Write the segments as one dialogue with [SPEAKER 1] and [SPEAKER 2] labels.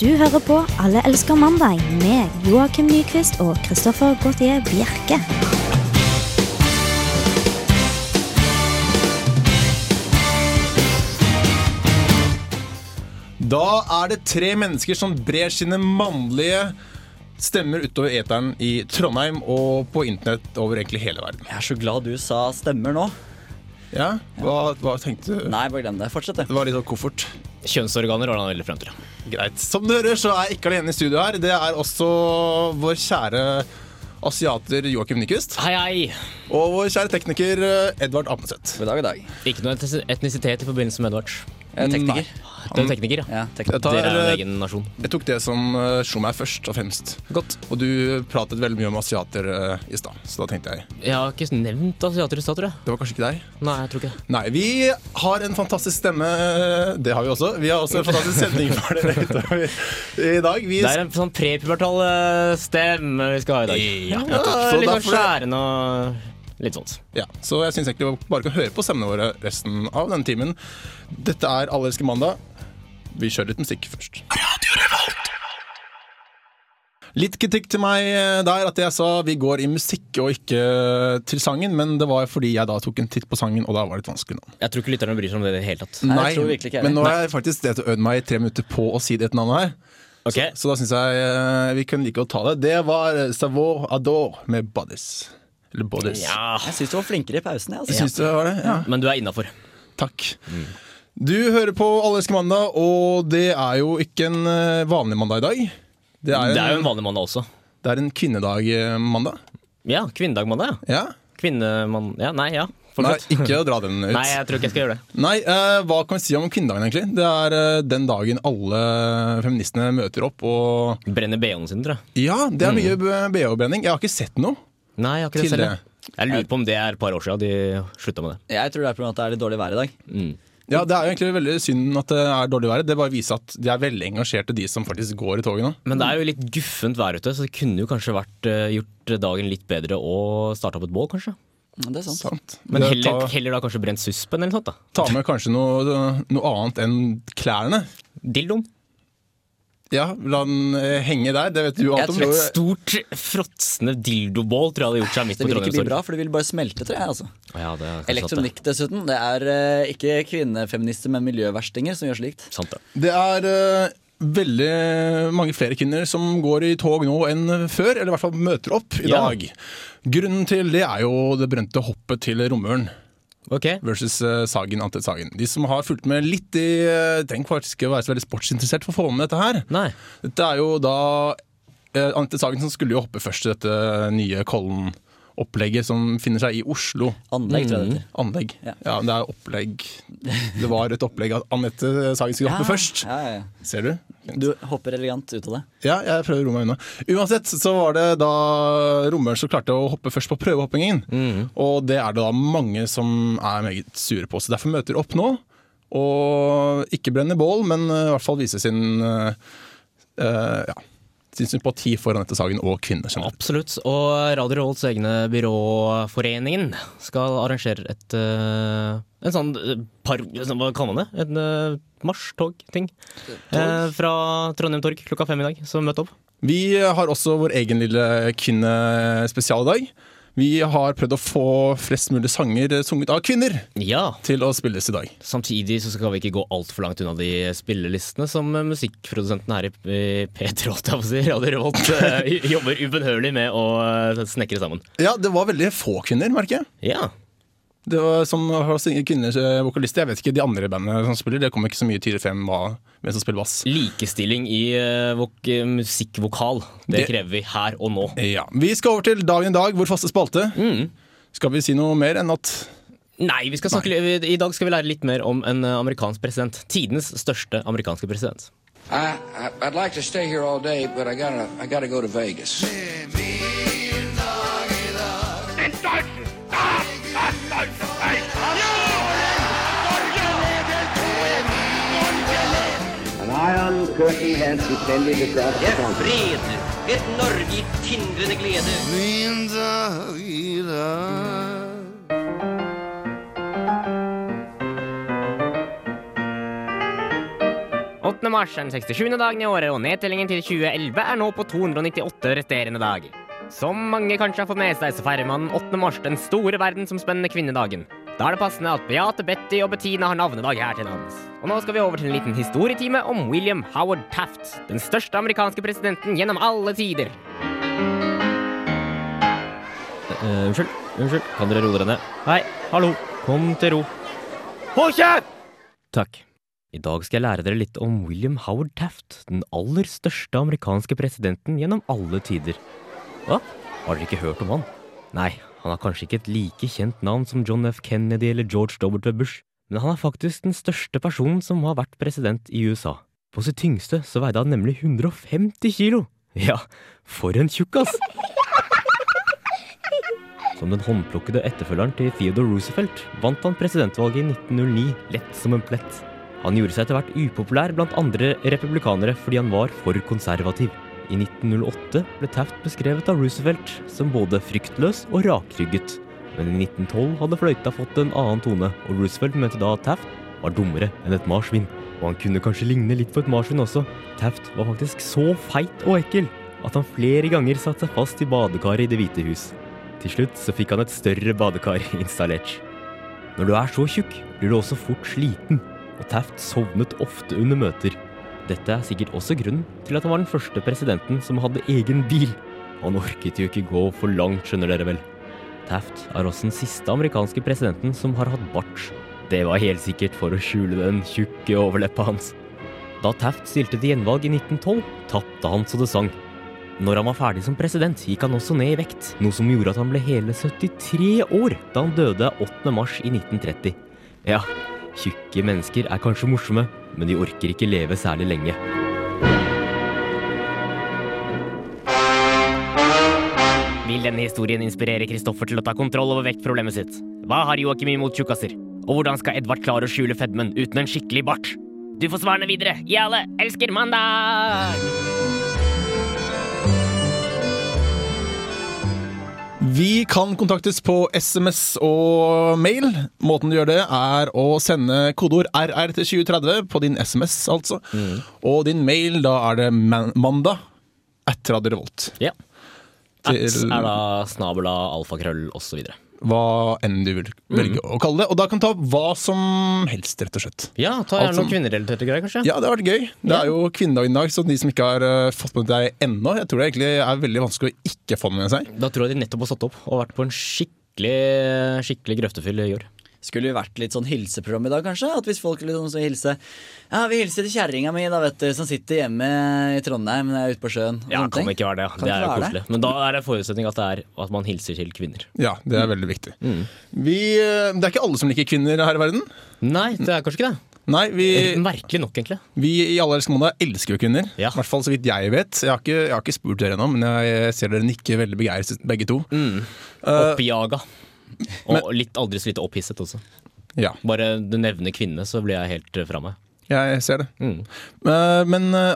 [SPEAKER 1] Du hører på Alle elsker mandag med Joakim Nyquist og Christoffer Gautier Bjerke.
[SPEAKER 2] Da er det tre mennesker som brer sine mannlige stemmer utover eteren i Trondheim og på internett over egentlig hele verden.
[SPEAKER 3] Jeg er så glad du sa stemmer nå.
[SPEAKER 2] Ja, Hva, hva tenkte du?
[SPEAKER 3] Nei, bare glem det. Fortsett,
[SPEAKER 2] Det
[SPEAKER 3] du.
[SPEAKER 2] var litt av koffert.
[SPEAKER 4] Kjønnsorganer var han veldig frem til.
[SPEAKER 2] Greit. Som du hører, så er jeg ikke alene i studio her. Det er også vår kjære asiater Joakim Nyquist.
[SPEAKER 4] Hei, hei!
[SPEAKER 2] Og vår kjære tekniker eh, Edvard Apenseth.
[SPEAKER 3] God dag, god dag.
[SPEAKER 4] Ikke noe etnis- etnisitet i forbindelse med Edvard.
[SPEAKER 3] Jeg er tekniker.
[SPEAKER 4] Du er tekniker, ja.
[SPEAKER 3] Ja, tekniker.
[SPEAKER 2] Jeg tar,
[SPEAKER 4] Dere er en
[SPEAKER 2] eh,
[SPEAKER 4] egen nasjon.
[SPEAKER 2] Jeg tok det som eh, slo meg først og fremst.
[SPEAKER 4] Godt.
[SPEAKER 2] Og du pratet veldig mye om asiater eh, i stad, så da tenkte jeg
[SPEAKER 4] Jeg har ikke nevnt asiater i stad, tror jeg.
[SPEAKER 2] Det var kanskje ikke deg?
[SPEAKER 4] Nei, jeg tror ikke det.
[SPEAKER 2] Nei, vi har en fantastisk stemme. Det har vi også. Vi har også en fantastisk sending for dere utover i dag. Vi
[SPEAKER 4] Det er en sånn prepubertal eh, stemme vi skal ha i dag.
[SPEAKER 2] Ja,
[SPEAKER 4] Ja,
[SPEAKER 2] så
[SPEAKER 4] litt sånn
[SPEAKER 2] derfor-
[SPEAKER 4] skjærende og litt sånt.
[SPEAKER 2] ja, så jeg syns egentlig vi bare kan høre på stemmene våre resten av denne timen. Dette er Alle elsker mandag. Vi kjører litt musikk først. Litt kritikk til meg eh, der at jeg sa vi går i musikk og ikke eh, til sangen, men det var fordi jeg da tok en titt på sangen, og da var det et vanskelig navn.
[SPEAKER 4] Jeg tror ikke lytterne bryr seg om det i det hele tatt.
[SPEAKER 3] Nei, jeg tror virkelig ikke jeg
[SPEAKER 2] men nå
[SPEAKER 3] vet.
[SPEAKER 2] har jeg faktisk øvd meg i tre minutter på å si det navnet her.
[SPEAKER 4] Ok,
[SPEAKER 2] Så da syns jeg eh, vi kunne like å ta det. Det var Savour Adore med Bodies. Eller Bodies.
[SPEAKER 4] ja.
[SPEAKER 3] Jeg syns du var flinkere i pausen. Jeg, altså.
[SPEAKER 2] Syns du det var det? Ja.
[SPEAKER 4] Men du er innafor.
[SPEAKER 2] Takk. Du hører på Alle elsker mandag, og det er jo ikke en eh, vanlig mandag i dag. Det er en,
[SPEAKER 4] Det er jo en vanlig mandag også.
[SPEAKER 2] det er en kvinnedag-mandag.
[SPEAKER 4] Ja, kvinnedagmandag, ja.
[SPEAKER 2] Ja?
[SPEAKER 4] Kvinnemann... Ja, nei, ja.
[SPEAKER 2] Nei,
[SPEAKER 4] Fortsett.
[SPEAKER 2] ikke å dra den ut.
[SPEAKER 4] Nei, jeg tror ikke jeg skal gjøre det.
[SPEAKER 2] Nei, eh, hva kan vi si om kvinnedagen, egentlig? Det er eh, den dagen alle feministene møter opp og
[SPEAKER 4] Brenner BH-en sin, tror jeg.
[SPEAKER 2] Ja, det er mye BH-brenning. Jeg har ikke sett noe.
[SPEAKER 4] Nei, jeg har ikke det
[SPEAKER 2] Til
[SPEAKER 4] selv. jeg. Jeg lurer på om det er et par år siden de slutta med det.
[SPEAKER 3] jeg tror det er pga. at det er litt dårlig vær i dag.
[SPEAKER 2] Ja, Det er jo egentlig veldig synd at det er dårlig vær. Det bare viser at de er veldig engasjerte, de som faktisk går i toget nå.
[SPEAKER 4] Men det er jo litt guffent vær ute, så det kunne jo kanskje vært eh, gjort dagen litt bedre og starta opp et bål, kanskje.
[SPEAKER 3] Ja, Det er sant.
[SPEAKER 2] Sant?
[SPEAKER 4] Men
[SPEAKER 2] Det-
[SPEAKER 4] heller,
[SPEAKER 2] ta,
[SPEAKER 4] heller da kanskje brent suspen eller noe sånt. da
[SPEAKER 2] ta med kanskje noe, noe annet enn klærne.
[SPEAKER 4] Dildoen.
[SPEAKER 2] Ja, La den eh, henge der. Det vet du alt
[SPEAKER 3] Jeg
[SPEAKER 2] om.
[SPEAKER 3] tror-
[SPEAKER 4] Et stort, fråtsende dildobål tror jeg hadde gjort seg midt
[SPEAKER 3] Det
[SPEAKER 4] på
[SPEAKER 3] vil ikke bli bra,
[SPEAKER 4] Trondheimstorget.
[SPEAKER 3] for det vil bare smelte, tror jeg. altså.
[SPEAKER 4] Ja, det er kanskje sant,
[SPEAKER 3] Elektronikk dessuten. Det er eh, ikke kvinnefeminister, men miljøverstinger som gjør slikt.
[SPEAKER 4] det. Sant, det.
[SPEAKER 2] Det er eh, veldig mange flere kvinner som går i tog nå enn før, eller i hvert fall møter opp i
[SPEAKER 4] Ja.
[SPEAKER 2] dag. Grunnen til det er jo det brente hoppet til romøren.
[SPEAKER 4] Ok.
[SPEAKER 2] versus eh, Sagen Ante Sagen. De som har fulgt med litt i eh, Tenk faktisk å være så veldig sportsinteressert for å få med dette her.
[SPEAKER 4] Nei.
[SPEAKER 2] Dette er jo da eh, Ante Sagen som skulle jo hoppe først i dette nye Kollen-opplegget som finner seg i Oslo.
[SPEAKER 3] Anlegg, tror jeg det heter.
[SPEAKER 2] Anlegg.
[SPEAKER 3] Ja.
[SPEAKER 2] Ja. det er opplegg. Det var et opplegg at Anette Sagen skulle hoppe først.
[SPEAKER 3] Ja, ja, ja.
[SPEAKER 2] Ser du?
[SPEAKER 3] Du hopper elegant ut av det.
[SPEAKER 2] Ja, jeg prøver å roe meg unna. Uansett så var det da romøren som klarte å hoppe først på prøvehoppingen. Og det er det da mange som er meget sure på. Så derfor møter opp nå. Og ikke brenner bål, men eh, i hvert fall viser sin eh, eh, ja, sin sympati for Anette Sagen og kvinner generelt.
[SPEAKER 4] Absolutt. Og Radio Revolts egne byråforeningen skal arrangere et eh, en sånn eh, par... Hva kaller man det? En eh, marsj-tog-ting. Eh, fra Trondheim Torg klokka fem i dag, så møt opp.
[SPEAKER 2] Vi har også vår egen lille kvinnespesial i dag. Vi har prøvd å få flest mulig sanger eh, sunget av kvinner
[SPEAKER 4] Ja.
[SPEAKER 2] til å spilles i dag.
[SPEAKER 4] Samtidig så skal vi ikke gå altfor langt unna de spillelistene som eh, musikkprodusenten her i i P3 holdt jeg på å si, Radio Revolt, eh, jobber ubønnhørlig med å eh, snekre sammen.
[SPEAKER 2] Ja, det var veldig få kvinner, merker jeg.
[SPEAKER 4] Ja.
[SPEAKER 2] Det var som har synget kvinnelige vokalister. eh, Jeg vet ikke de andre bandene som spiller. Det kommer ikke så mye tydelig frem hva, hvem som spiller bass.
[SPEAKER 4] Likestilling i eh, vok musikkvokal, det,
[SPEAKER 2] Det-
[SPEAKER 4] krever vi her og nå.
[SPEAKER 2] Ja. Vi skal over til dagen i dag, vår faste spalte.
[SPEAKER 4] Mm.
[SPEAKER 2] Skal vi si noe mer enn at
[SPEAKER 4] Nei, vi skal snakke, litt- i dag skal vi lære litt mer om en eh, amerikansk president. Tidenes største amerikanske president.
[SPEAKER 5] I, I I'd like to stay here all day, but I gotta I gotta go to Vegas.
[SPEAKER 6] Den deutschen Staat hat deutsche Reich.
[SPEAKER 7] An iron curtain has descended across the country.
[SPEAKER 8] fred, et Norge i tindrende glede.
[SPEAKER 9] 8. mars er den 67. dagen i året, og nedtellingen til 2011 er nå på 298 resterende dager. Som mange kanskje har fått med seg, så feirer man 8. mars den store verdensomspennende kvinnedagen. Da er det passende at Beate, Betty og Bettina har navnedag her til lands. Og nå skal vi over til en liten historietime om William Howard Taft, den største amerikanske presidenten gjennom alle tider.
[SPEAKER 4] Eh, unnskyld, unnskyld. Kan dere roe dere ned? Hei, hallo. Kom til ro. Hold kjeft! Takk. I dag skal jeg lære dere litt om William Howard Taft, den aller største amerikanske presidenten gjennom alle tider. Hva? Har dere ikke hørt om han? Nei, han har kanskje ikke et like kjent navn som John F. Kennedy eller George W. Bush, men han er faktisk den største personen som har vært president i USA. På sitt tyngste så veide han nemlig 150 kilo. Ja, for en tjukkas! Som den håndplukkede etterfølgeren til Theodore Roosevelt vant han presidentvalget i 1909 lett som en plett. Han gjorde seg etter hvert upopulær blant andre republikanere fordi han var for konservativ. I 1908 ble Taft beskrevet av Roosevelt som både fryktløs og rakrygget. Men i 1912 hadde fløyta fått en annen tone, og Roosevelt mente da at Taft var dummere enn et marsvin. Og han kunne kanskje ligne litt på et marsvin også. Taft var faktisk så feit og ekkel at han flere ganger satte seg fast i badekaret i Det hvite hus. Til slutt så fikk han et større badekar installert. Når du er så tjukk, blir du også fort sliten, og Taft sovnet ofte under møter. Dette er sikkert også grunnen til at han var den første presidenten som hadde egen bil. Han orket jo ikke gå for langt, skjønner dere vel. Taft er også den siste amerikanske presidenten som har hatt bart. Det var helt sikkert for å skjule den tjukke overleppa hans. Da Taft stilte til gjenvalg i 1912, tapte han så det sang. Når han var ferdig som president, gikk han også ned i vekt, noe som gjorde at han ble hele 73 år da han døde 8. mars i 1930. Ja, tjukke mennesker er kanskje morsomme, men de orker ikke leve særlig lenge.
[SPEAKER 9] Vil denne historien inspirere Kristoffer til å ta kontroll over vektproblemet sitt? Hva har Joakim imot tjukkaser? Og hvordan skal Edvard klare å skjule fedmen uten en skikkelig bart? Du får svarene videre i Alle elsker mandag!
[SPEAKER 2] Vi kan kontaktes på SMS og mail. Måten du gjør det, er å sende kodeord RR til 2030 på din SMS, altså.
[SPEAKER 4] Mm.
[SPEAKER 2] Og din mail, da er det man mandag at Radio Revolt.
[SPEAKER 4] Ja.
[SPEAKER 2] Til-
[SPEAKER 4] At er da snabela, alfakrøll osv.
[SPEAKER 2] Hva enn du vil velge
[SPEAKER 4] Mm.
[SPEAKER 2] å kalle det. Og da kan du ta opp hva som helst, rett og slett.
[SPEAKER 4] Ja, ta
[SPEAKER 2] Alt
[SPEAKER 4] gjerne
[SPEAKER 2] som-
[SPEAKER 4] noen kvinnerelaterte greier, kanskje.
[SPEAKER 2] Ja, det har vært gøy. Det
[SPEAKER 4] Ja.
[SPEAKER 2] er jo kvinnedagen i dag, så de som ikke har eh, fått med deg ennå Jeg tror det egentlig er veldig vanskelig å ikke få med seg.
[SPEAKER 4] Da tror jeg de nettopp har stått opp og vært på en skikkelig, skikkelig grøftefyll i år.
[SPEAKER 3] Skulle vi vært litt sånn hilseprogram i dag, kanskje? At hvis folk liksom skal hilse Ja, vi hilser til kjerringa mi, da, vet du, som sitter hjemme i Trondheim når jeg er ute på sjøen. og
[SPEAKER 4] Ja,
[SPEAKER 3] sånne
[SPEAKER 4] kan
[SPEAKER 3] ting.
[SPEAKER 4] det ikke være det. ja.
[SPEAKER 3] Kan
[SPEAKER 4] Det
[SPEAKER 3] ikke
[SPEAKER 4] er jo
[SPEAKER 3] være
[SPEAKER 4] koselig. Men da er det forutsetning at det er at man hilser til kvinner.
[SPEAKER 2] Ja, det
[SPEAKER 4] Mm.
[SPEAKER 2] er veldig viktig. Vi, eh, det er ikke alle som liker kvinner her i verden.
[SPEAKER 4] Nei, det er kanskje ikke det.
[SPEAKER 2] Nei, vi,
[SPEAKER 4] Merkelig nok, egentlig.
[SPEAKER 2] vi i Alle elsker mandag elsker jo kvinner. I
[SPEAKER 4] Ja.
[SPEAKER 2] hvert fall så vidt jeg vet. Jeg har ikke, jeg har ikke spurt dere ennå, men jeg ser dere nikker veldig begeistret begge to.
[SPEAKER 4] Mm.
[SPEAKER 3] Eh,
[SPEAKER 4] Oppjaga. Og litt, aldri så lite opphisset også.
[SPEAKER 2] Ja,
[SPEAKER 4] Bare du nevner kvinne, så blir jeg helt eh, fra meg.
[SPEAKER 2] jeg ser det.
[SPEAKER 4] Mm.
[SPEAKER 2] Eh, Men eh,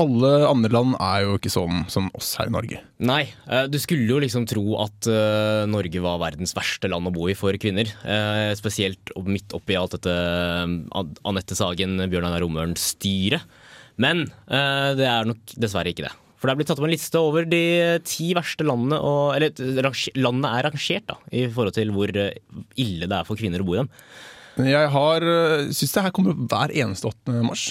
[SPEAKER 2] alle andre land er jo ikke sånn som oss her i Norge.
[SPEAKER 4] Nei, eh, du skulle jo liksom tro at eh, Norge var verdens verste land å bo i for kvinner. Eh, Spesielt opp- midt oppi alt dette eh, An- Anette Sagen, Bjørn Einar Romøren-styret. Men eh, det er nok dessverre ikke det. For det er blitt tatt opp en liste over de eh, ti verste landene og, Eller eh, range- landene er rangert, da, i forhold til hvor eh, ille det er for kvinner å bo i dem.
[SPEAKER 2] Jeg har, eh, synes det her kommer opp hver eneste 8. mars.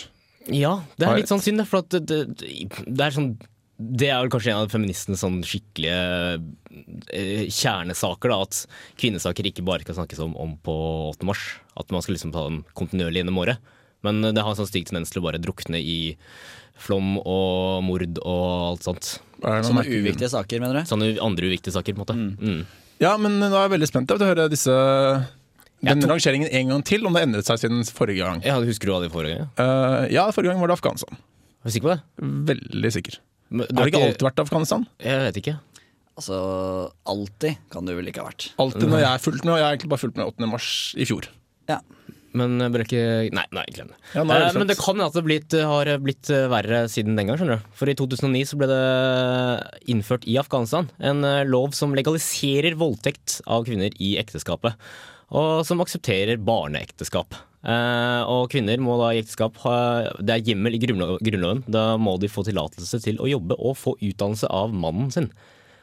[SPEAKER 4] Ja, det
[SPEAKER 2] Har-
[SPEAKER 4] er litt sånn synd, det, for at det, det, det er sånn det er vel kanskje en av feministenes sånn skikkelige eh, kjernesaker. da, At kvinnesaker ikke bare skal snakkes om, om på 8. mars. At man skal liksom ta dem kontinuerlig gjennom året. Men det har en sånn stygg tendens til å bare drukne i flom og mord og alt sånt.
[SPEAKER 2] Er det noen
[SPEAKER 3] Sånne
[SPEAKER 2] merkelige grunner?
[SPEAKER 3] uviktige saker, mener du?
[SPEAKER 4] Sånne andre uviktige saker, på en måte. Mm.
[SPEAKER 2] Ja, men nå er jeg veldig spent på å høre disse, denne rangeringen en gang til, om det endret seg siden forrige gang.
[SPEAKER 4] Ja, Husker du hva de forrige gangene?
[SPEAKER 2] Eh, ja, forrige gang var det Afghanistan.
[SPEAKER 4] Er du sikker på det?
[SPEAKER 2] Veldig sikker.
[SPEAKER 4] Men
[SPEAKER 2] Har
[SPEAKER 4] du
[SPEAKER 2] det ikke
[SPEAKER 4] ikke-
[SPEAKER 2] alltid vært Afghanistan?
[SPEAKER 4] Jeg vet ikke.
[SPEAKER 3] Altså, alltid kan du vel ikke ha vært.
[SPEAKER 2] Alltid når jeg er fulgt med, og jeg har egentlig bare fulgt med 8. mars i fjor.
[SPEAKER 3] Ja.
[SPEAKER 4] Men jeg bør ikke Nei, nei glem det.
[SPEAKER 2] Ja, nå er det
[SPEAKER 4] Eh, men
[SPEAKER 2] slett.
[SPEAKER 4] det kan hende at det blitt, har blitt eh, verre siden den gang. skjønner du For i 2009 så ble det innført i Afghanistan en eh, lov som legaliserer voldtekt av kvinner i ekteskapet. Og som aksepterer barneekteskap. Eh, og kvinner må da i ekteskap ha Det er hjemmel i grunnlo- Grunnloven. Da må de få tillatelse til å jobbe og få utdannelse av mannen sin.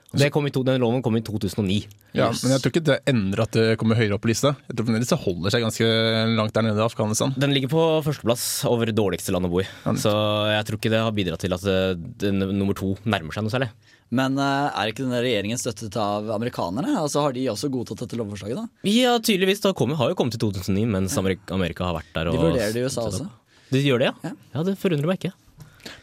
[SPEAKER 4] Det kom i to, den loven kom i 2009.
[SPEAKER 2] Ja, men jeg tror ikke det endrer at det kommer høyere opp på lista. Jeg tror fremdeles det holder seg ganske langt der nede i Afghanistan.
[SPEAKER 4] Den ligger på førsteplass over dårligste land å bo i. Så jeg tror ikke det har bidratt til at eh, den, nummer to nærmer seg noe særlig.
[SPEAKER 3] Men eh, er ikke denne regjeringen støttet av amerikanerne? Altså Har de også godtatt dette lovforslaget? da?
[SPEAKER 4] Ja, tydeligvis. Det har kommet- har jo kommet i 2009, mens Amerika, Amerika har vært der.
[SPEAKER 3] De vurderer det i USA også.
[SPEAKER 4] De gjør det, ja? Ja, Det forundrer meg ikke.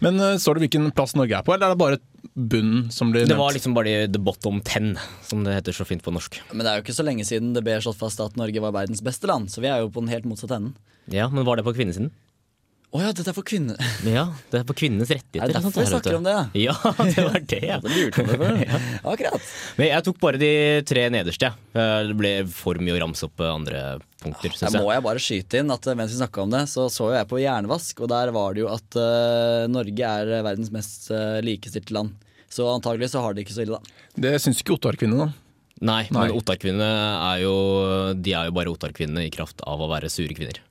[SPEAKER 2] Men eh, står det hvilken plass Norge er på, eller er det bare bunnen som blir
[SPEAKER 4] Det var
[SPEAKER 2] nevnt?
[SPEAKER 4] liksom bare the bottom ten, som det heter så fint på norsk.
[SPEAKER 3] Men det er jo ikke så lenge siden det ble slått fast at Norge var verdens beste land, så vi er jo på den helt motsatte enden.
[SPEAKER 4] Ja, Men var det på kvinnesiden?
[SPEAKER 3] Å ja, dette er for kvinner.
[SPEAKER 4] Ja, det er på kvinnenes rettigheter.
[SPEAKER 3] Er
[SPEAKER 4] altså,
[SPEAKER 3] det
[SPEAKER 4] og
[SPEAKER 3] derfor vi
[SPEAKER 4] sånt her, vet du.
[SPEAKER 3] snakker om det,
[SPEAKER 4] Ja, det var det. ja.
[SPEAKER 3] Akkurat.
[SPEAKER 4] Men jeg tok bare de tre nederste. jeg. Det ble for mye å ramse opp andre punkter,
[SPEAKER 3] Der
[SPEAKER 4] syns
[SPEAKER 3] må
[SPEAKER 4] jeg.
[SPEAKER 3] Ah, jeg bare skyte inn at eh, mens vi snakka om det, så så jo jeg på Jernvask, og der var det jo at eh, Norge er verdens mest eh, likestilte land. Så antagelig så har de ikke så ille, da.
[SPEAKER 2] Det syns ikke Ottar-kvinnene, da.
[SPEAKER 4] Nei,
[SPEAKER 2] Nei.
[SPEAKER 4] men Ottar-kvinnene er jo De er jo bare Ottar-kvinnene i kraft av å være sure kvinner.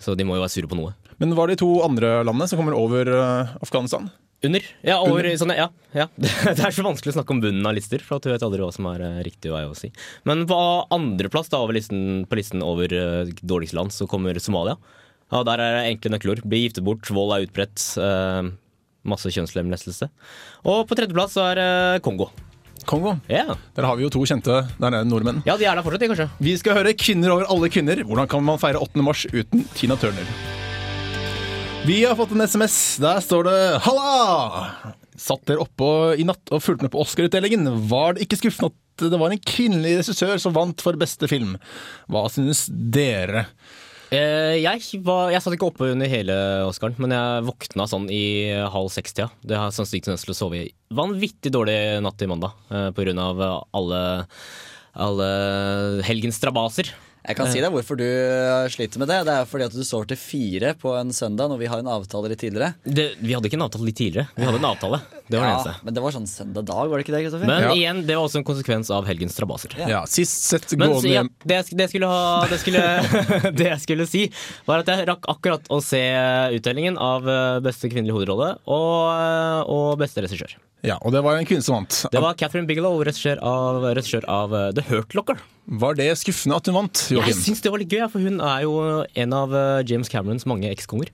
[SPEAKER 4] Så de må jo være sure på noe.
[SPEAKER 2] Men var det de to andre landene som kommer over eh, Afghanistan?
[SPEAKER 4] Under. Ja, over, Sånn, ja, ja. Det er så vanskelig å snakke om bunnen av lister, for at du vet aldri hva som er eh, riktig vei å si. Men på andreplass da, over listen, på listen over eh, dårligste land, så kommer Somalia. Ja, der er det enkle nøkkelord. Bli giftet bort, vold er utbredt. eh, masse kjønnslemlestelse. Og på tredjeplass så er eh, Kongo.
[SPEAKER 2] Kongo.
[SPEAKER 4] Ja.
[SPEAKER 2] Der har vi jo to kjente der nede, nordmenn.
[SPEAKER 4] ja, de er der fortsatt, de, kanskje.
[SPEAKER 2] Vi skal høre 'Kvinner over alle kvinner'. Hvordan kan man feire 8. mars uten Tina Turner? Vi har fått en SMS. Der står det 'Halla!' Satt dere oppå i natt og fulgte med på Oscar-utdelingen. Var det ikke skuffende at det var en kvinnelig regissør som vant for beste film? Hva synes dere?
[SPEAKER 4] Eh, jeg, var, jeg satt ikke oppe under hele Oscaren, men jeg våkna sånn i halv seks-tida. Det har sånn jeg sannsynligvis tendens til å sove i vanvittig dårlig natt til mandag eh, på grunn av alle, alle helgens strabaser.
[SPEAKER 3] Jeg kan
[SPEAKER 4] Eh.
[SPEAKER 3] si deg hvorfor du eh, sliter med det. Det er fordi at du sover til fire på en søndag når vi har en avtale litt tidligere.
[SPEAKER 4] Det, vi hadde ikke en avtale litt tidligere. Vi hadde en avtale. Det var det
[SPEAKER 3] Ja,
[SPEAKER 4] eneste.
[SPEAKER 3] men det var sånn søndag dag, var det ikke det, Kristoffer?
[SPEAKER 4] Men
[SPEAKER 2] Ja.
[SPEAKER 4] igjen, det var også en konsekvens av helgens strabaser.
[SPEAKER 2] Ja, Sist sett
[SPEAKER 4] Men så,
[SPEAKER 2] gående
[SPEAKER 4] ja, det, jeg sk- det, jeg skulle ha, det, skulle, det jeg skulle si, var at jeg rakk akkurat å se utdelingen av eh, beste kvinnelige hovedrolle og, eh, og beste regissør.
[SPEAKER 2] Ja, Og det var en kvinne som vant.
[SPEAKER 4] Det var Catherine Bigelow, regissør av, regissør av eh, The Hurt Locker.
[SPEAKER 2] Var det skuffende at hun vant,
[SPEAKER 4] Jeg
[SPEAKER 2] Joakim?
[SPEAKER 4] syns det var litt gøy, for hun er jo en av eh, James Camerons mange ekskonger.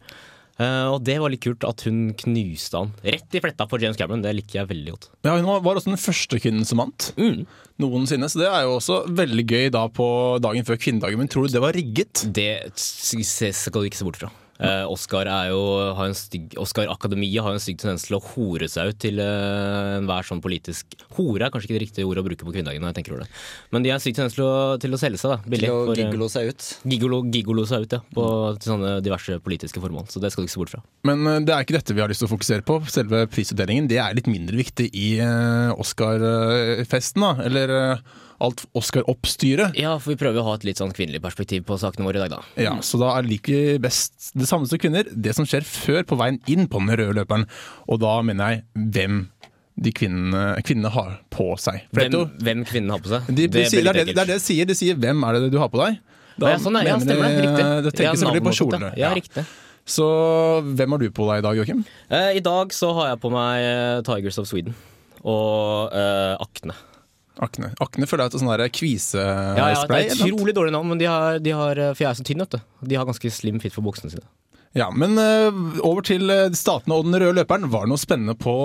[SPEAKER 4] Eh, og det var litt kult at hun knuste han rett i fletta for James Cameron. Det liker jeg veldig godt.
[SPEAKER 2] Ja, hun var- var også den første kvinnen som vant noensinne. Så det er jo også veldig gøy da på dagen før kvinnedagen. Men tror du det var rigget?
[SPEAKER 4] Det s- s- skal du ikke se bort fra. Eh, Oscar, er jo, har en stygg, Oscar Akademiet har jo en stygg tendens til å hore seg ut til eh, enhver sånn politisk Hore er kanskje ikke det riktige ordet å bruke på kvinnedagen, når jeg tenker over det. Men de har en stygg tendens til å, til å selge seg, da. billig,
[SPEAKER 3] Til å
[SPEAKER 4] for, eh,
[SPEAKER 3] gigolo seg ut.
[SPEAKER 4] Gigolo, gigolo seg ut, ja. På, til sånne diverse politiske formål. Så det skal du ikke se bort fra.
[SPEAKER 2] Men eh, det er ikke dette vi har lyst til å fokusere på. Selve prisutdelingen det er litt mindre viktig i eh, Oscar-festen, da. Eller eh, alt Oscar-oppstyret.
[SPEAKER 4] Ja, for vi prøver å ha et litt sånn kvinnelig perspektiv på sakene våre i dag, da.
[SPEAKER 2] Ja, Så da er like best det samme som kvinner, det som skjer før på veien inn på den røde løperen. Og da mener jeg hvem de kvinnene, kvinnene har på seg. For det er
[SPEAKER 4] Hvem,
[SPEAKER 2] jo-
[SPEAKER 4] hvem kvinnen har på seg.
[SPEAKER 2] de, de
[SPEAKER 4] blir
[SPEAKER 2] sier, det, er
[SPEAKER 4] litt
[SPEAKER 2] det, det er det de sier. De sier 'hvem er det du har på deg'? Da
[SPEAKER 4] Å, ja, sånn er, ja,
[SPEAKER 2] mener
[SPEAKER 4] stemmer det.
[SPEAKER 2] de,
[SPEAKER 4] Riktig.
[SPEAKER 2] eh, Det tenker
[SPEAKER 4] Ja,
[SPEAKER 2] selvfølgelig på
[SPEAKER 4] navnet vårt,
[SPEAKER 2] kjolene.
[SPEAKER 4] Ja,
[SPEAKER 2] Ja.
[SPEAKER 4] riktig.
[SPEAKER 2] Så hvem har du på deg i dag, Joakim?
[SPEAKER 4] Eh, I dag så har jeg på meg eh, Tigers of Sweden og eh, Akne.
[SPEAKER 2] Akne. Akne føler jeg er et sånn der kvisespray.
[SPEAKER 4] Ja, ja, det
[SPEAKER 2] eller
[SPEAKER 4] er
[SPEAKER 2] noe.
[SPEAKER 4] utrolig dårlig navn, men de har, de har eh, For jeg er så tynn, vet du. De har ganske slim fit for buksene sine.
[SPEAKER 2] Ja, men eh, over til eh, statene og den røde løperen. Var det noe spennende på,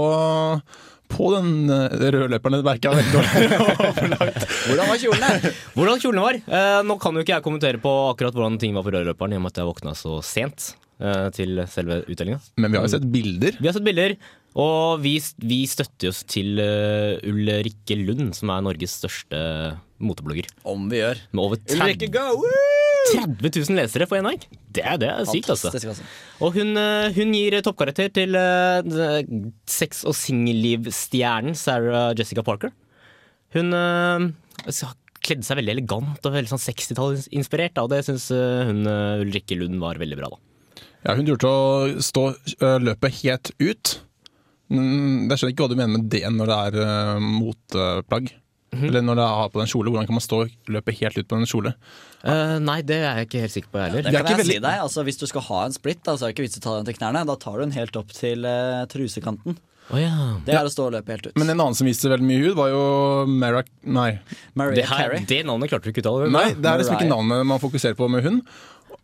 [SPEAKER 2] på den eh, røde løperen? Det merker jeg veldig dårlig overlagt.
[SPEAKER 3] Hvordan var kjolen der?
[SPEAKER 4] Hvordan kjolene var? Eh, nå kan jo ikke jeg kommentere på akkurat hvordan ting var på rødløperen, i og med at jeg våkna så sent eh, til selve utdelinga.
[SPEAKER 2] Men vi har jo sett bilder.
[SPEAKER 4] Vi har sett bilder, og vi, vi støtter oss til eh, Ulrikke Lund, som er Norges største moteblogger.
[SPEAKER 3] Om vi gjør.
[SPEAKER 4] Med over 30,
[SPEAKER 3] Ulrikke, go!
[SPEAKER 4] 30 000 lesere på én dag. Det, er- det er sykt, altså.
[SPEAKER 3] Fantastisk, altså.
[SPEAKER 4] Og hun, eh, hun gir toppkarakter til eh, d- sex- og singellivstjernen Sarah Jessica Parker. Hun eh, s- kledde seg veldig elegant og veldig sånn 60-tallsinspirert, da, og det syns hun eh, Ulrikke Lund var veldig bra, da.
[SPEAKER 2] Ja, hun turte å stå eh, løpet helt ut. Mm, Jeg skjønner ikke hva du mener med det når det er eh, moteplagg.
[SPEAKER 4] Mhm.
[SPEAKER 2] Eller når det er på den kjole, hvordan kan man stå og løpe helt ut på en kjole?
[SPEAKER 4] Eh, nei, det er jeg ikke helt sikker på, jeg heller.
[SPEAKER 2] Det
[SPEAKER 3] Det
[SPEAKER 2] er
[SPEAKER 3] kan
[SPEAKER 2] ikke
[SPEAKER 3] jeg si
[SPEAKER 2] veldig-
[SPEAKER 3] deg, altså Hvis du skal ha en splitt, da, så er det ikke vits å ta den til knærne. Da tar du den helt opp til eh, trusekanten.
[SPEAKER 4] Å ja.
[SPEAKER 3] Det er å stå og løpe helt ut.
[SPEAKER 2] Men en annen som viste veldig mye hud, var jo Mara... Nei.
[SPEAKER 3] Maria
[SPEAKER 4] Det, her,
[SPEAKER 3] Carey.
[SPEAKER 4] det navnet klarte du ikke å uttale.
[SPEAKER 2] Nei, det er liksom ikke
[SPEAKER 3] Mariah.
[SPEAKER 2] navnet man fokuserer på med hun.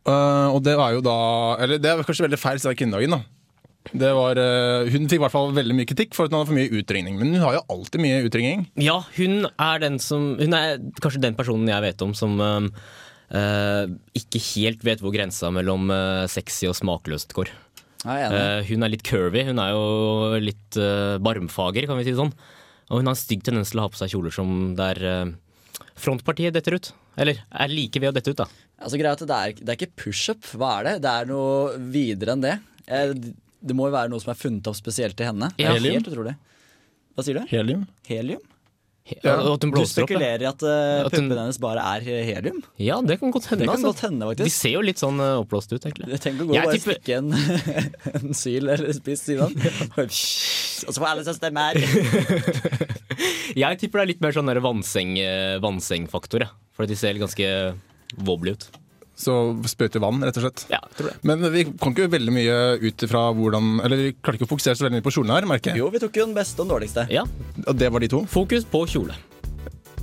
[SPEAKER 2] Eh, og det er jo da Eller det er kanskje veldig feil siden det er kvinnedagen, da. Det var, eh, hun fikk i hvert fall veldig mye kritikk for at hun hadde for mye utringning. Men hun har jo alltid mye utringning.
[SPEAKER 4] Ja, hun er den som Hun er kanskje den personen jeg vet om som øhm, øh, ikke helt vet hvor grensa mellom øh, sexy og smakløst går.
[SPEAKER 3] Ja, jeg er enig.
[SPEAKER 4] Eh, hun er litt curvy, hun er jo litt øh, barmfager, kan vi si det sånn. Og hun har en stygg tendens til å ha på seg kjoler som der øh, frontpartiet detter ut. Eller er like ved å dette ut, da.
[SPEAKER 3] Altså, greia er at det, er, det er ikke pushup. Hva er det? Det er noe videre enn det. Eh, Det må jo være noe som er funnet opp spesielt til henne. Det
[SPEAKER 4] Ja.
[SPEAKER 3] er helt utrolig. Hva sier du?
[SPEAKER 2] Helium.
[SPEAKER 3] Helium?
[SPEAKER 2] Ja,
[SPEAKER 4] Og at hun
[SPEAKER 3] Du
[SPEAKER 4] blåser opp. Ja.
[SPEAKER 3] spekulerer i at eh,
[SPEAKER 4] At hun-
[SPEAKER 3] puppene hennes bare er helium?
[SPEAKER 4] ja, det kan godt hende.
[SPEAKER 3] Det kan
[SPEAKER 4] altså.
[SPEAKER 3] godt hende,
[SPEAKER 4] De
[SPEAKER 3] faktisk.
[SPEAKER 4] ser jo litt sånn øh, oppblåst ut, egentlig.
[SPEAKER 3] Tenk å gå og
[SPEAKER 4] Jeg
[SPEAKER 3] bare
[SPEAKER 4] tipper-
[SPEAKER 3] stikke en, en syl eller spiss siden. Og så får alle seg stemme her.
[SPEAKER 4] Jeg tipper det er litt mer sånn der vannseng, øh, vannsengfaktor, ja. For de ser ganske wobbly ut.
[SPEAKER 2] Så sprøyter vann, rett og slett.
[SPEAKER 4] Ja, tror det.
[SPEAKER 2] Men vi kom ikke veldig mye ut ifra hvordan Eller vi klarte ikke å fokusere så veldig mye på kjolene her, merker jeg.
[SPEAKER 3] Jo, vi tok jo den beste og den dårligste.
[SPEAKER 4] Ja,
[SPEAKER 2] Og det var de to.
[SPEAKER 4] Fokus på kjole.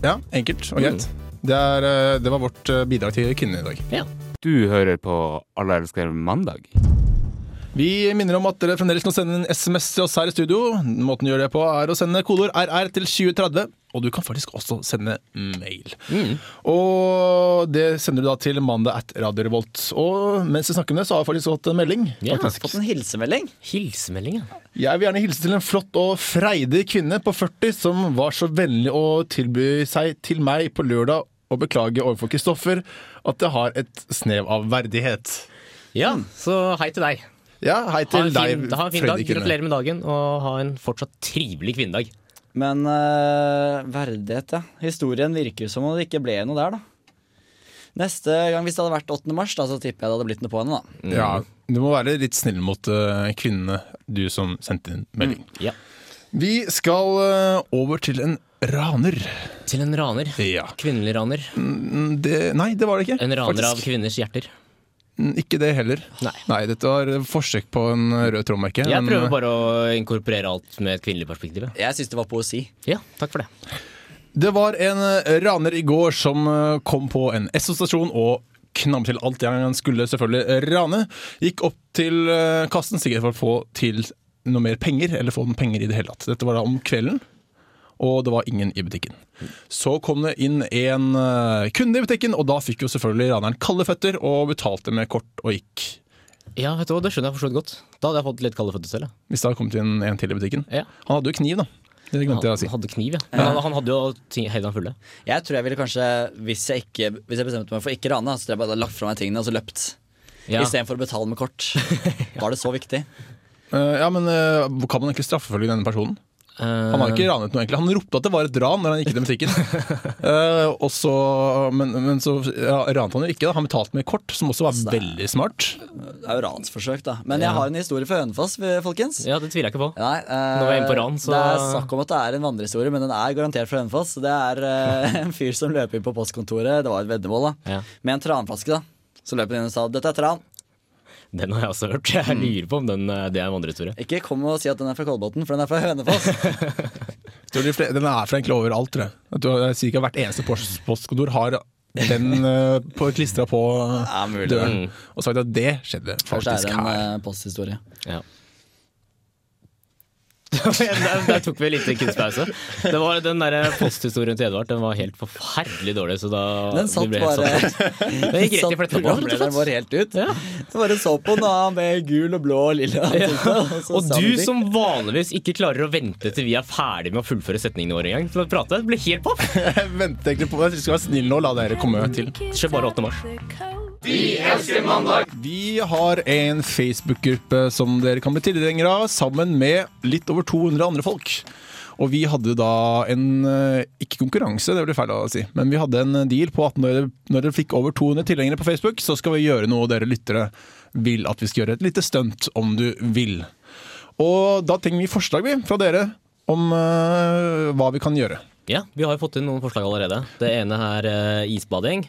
[SPEAKER 2] Ja, enkelt og greit. Det, er, eh, det var vårt eh, bidrag til kvinnene i dag.
[SPEAKER 4] Ja.
[SPEAKER 10] Du hører på Alle elsker mandag.
[SPEAKER 2] Vi minner om at dere fremdeles kan sende en SMS til oss her i studio. Måten du gjør det på er å sende kodeord RR til 2030. Og du kan faktisk også sende mail.
[SPEAKER 4] Mm.
[SPEAKER 2] Og det sender du da til mandag at Radio Revolt. Og mens vi snakker om det, så har jeg faktisk fått en melding.
[SPEAKER 4] Ja.
[SPEAKER 2] Faktisk.
[SPEAKER 3] Fått en hilsemelding.
[SPEAKER 4] Hilsemelding, ja.
[SPEAKER 2] Jeg vil gjerne hilse til en flott og freidig kvinne på 40 som var så vennlig å tilby seg til meg på lørdag og beklage overfor Kristoffer at jeg har et snev av verdighet.
[SPEAKER 4] Ja, Mm. Så hei til deg.
[SPEAKER 2] Ja, hei
[SPEAKER 4] Ha
[SPEAKER 2] til
[SPEAKER 4] en fin,
[SPEAKER 2] deg,
[SPEAKER 4] ha en fin dag.
[SPEAKER 2] freidig kvinne.
[SPEAKER 4] Gratulerer med dagen, og ha en fortsatt trivelig kvinnedag.
[SPEAKER 3] Men eh, verdighet, ja. Historien virker som om det ikke ble noe der, da. Neste gang, hvis det hadde vært 8. mars, da, så tipper jeg det hadde blitt noe på henne. da.
[SPEAKER 2] Ja, du må være litt snill mot eh, kvinnene, du som sendte inn melding.
[SPEAKER 4] Ja.
[SPEAKER 2] Mm. Vi skal eh, over til en raner.
[SPEAKER 4] Til en raner.
[SPEAKER 2] Ja.
[SPEAKER 4] Kvinnelig raner.
[SPEAKER 2] Mm, Det, nei, det var det ikke.
[SPEAKER 4] En raner
[SPEAKER 2] faktisk.
[SPEAKER 4] av kvinners hjerter.
[SPEAKER 2] Mm, Ikke det heller.
[SPEAKER 4] Nei.
[SPEAKER 2] dette var forsøk på en rød trådmerke.
[SPEAKER 4] Jeg
[SPEAKER 2] men, eh,
[SPEAKER 4] prøver bare å inkorporere alt med et kvinnelig perspektiv. ja.
[SPEAKER 3] Jeg syns det var poesi.
[SPEAKER 4] Ja, takk for det.
[SPEAKER 2] Det var en eh, raner i går som eh, kom på en Esso-stasjon og knam til alt det han skulle selvfølgelig eh, rane. Gikk opp til eh, kassen sikkert for å få til noe mer penger, eller få noen penger i det hele tatt. Dette var da om kvelden, og det var ingen i butikken. Så kom det inn en eh, kunde i butikken, og da fikk jo selvfølgelig raneren kalde føtter og betalte med kort og gikk.
[SPEAKER 4] Ja, vet du hva, Det skjønner jeg forstått godt. Da hadde jeg fått litt kalde føtter selv. ja.
[SPEAKER 2] Hvis det hadde kommet inn en til i butikken.
[SPEAKER 4] Ja.
[SPEAKER 2] Han hadde jo kniv, da. Det glemte jeg å
[SPEAKER 4] Han
[SPEAKER 2] si.
[SPEAKER 4] hadde kniv, ja. Men han, han hadde jo ting- hendene fulle.
[SPEAKER 3] Jeg tror jeg ville kanskje, hvis jeg, ikke, hvis jeg bestemte meg for ikke rane, så tror jeg bare hadde lagt fra meg tingene og så løpt.
[SPEAKER 4] Ja.
[SPEAKER 3] Istedenfor å betale med kort. Var det så viktig?
[SPEAKER 2] Eh, ja, men eh, Kan man egentlig straffeforfølge denne personen?
[SPEAKER 4] eh,
[SPEAKER 2] Han har ikke ranet noe, egentlig. Han ropte at det var et ran når han gikk til butikken. Eh, og så- men, men så ja, rant han jo ikke. Da. Han betalte med kort, som også var veldig smart.
[SPEAKER 3] Det er jo ransforsøk, da. Men jeg har en historie fra Hønefoss, folkens.
[SPEAKER 4] Ja, det tviler jeg ikke på.
[SPEAKER 3] Nei, eh,
[SPEAKER 4] Nå var jeg inne på ran, så-
[SPEAKER 3] Det er snakk om at det er en vandrehistorie, men den er garantert fra Hønefoss. Det er eh, en fyr som løp inn på postkontoret, det var et veddemål, da,
[SPEAKER 4] Ja.
[SPEAKER 3] med en tranflaske. da. Så løp han inn og sa 'dette er tran'.
[SPEAKER 4] Den har jeg også hørt.
[SPEAKER 3] Mm.
[SPEAKER 4] Jeg lurer på om den, eh, det er en vandrehistorie.
[SPEAKER 3] Ikke kom og si at den er fra Kolbotn, for den er fra Hønefoss.
[SPEAKER 2] Tror de fle- Den er fra egentlig overalt, tror jeg. jeg. tror jeg sier ikke Hvert eneste post- postkontor har den uh, klistra på
[SPEAKER 3] Ja, mulig. Mm.
[SPEAKER 2] døren. Og sagt at det skjedde
[SPEAKER 3] Kanskje det
[SPEAKER 2] faktisk
[SPEAKER 3] er en
[SPEAKER 2] her.
[SPEAKER 3] eh, posthistorie.
[SPEAKER 4] Ja. der, der tok vi en liten kunstpause. Det var Den der eh, posthistorien til Edvard Den var helt forferdelig dårlig. Så da
[SPEAKER 3] Den
[SPEAKER 4] vi
[SPEAKER 3] satt
[SPEAKER 4] ble helt
[SPEAKER 3] bare
[SPEAKER 4] satt ut. Den gikk rett i fletta på. rett
[SPEAKER 3] Programlederen
[SPEAKER 4] og slett.
[SPEAKER 3] vår helt ut.
[SPEAKER 4] Ja.
[SPEAKER 3] Så bare så på den, og han med gul og blå og lilla. ansiktet, så
[SPEAKER 4] Og
[SPEAKER 3] sa
[SPEAKER 4] du
[SPEAKER 3] vi-
[SPEAKER 4] som vanligvis ikke klarer å vente til vi er ferdig med å fullføre setningene våre engang, til å prate, ble helt paff.
[SPEAKER 3] eh,
[SPEAKER 2] Jeg venter egentlig på Jeg skal være snill nå, la dere komme til.
[SPEAKER 4] Skjer bare 8. mars.
[SPEAKER 2] Vi har en Facebook-gruppe som dere kan bli tilhengere av, sammen med litt over 200 andre folk. Og vi hadde da en eh, Ikke konkurranse, det blir feil å si, men vi hadde en deal på at når dere, når dere fikk over 200 tilhengere på Facebook, så skal vi gjøre noe dere lyttere vil at vi skal gjøre. Et lite stunt, om du vil. Og da trenger vi forslag, vi, fra dere, om eh, hva vi kan gjøre.
[SPEAKER 4] Ja, vi har jo fått inn noen forslag allerede. Det ene er eh, isbading.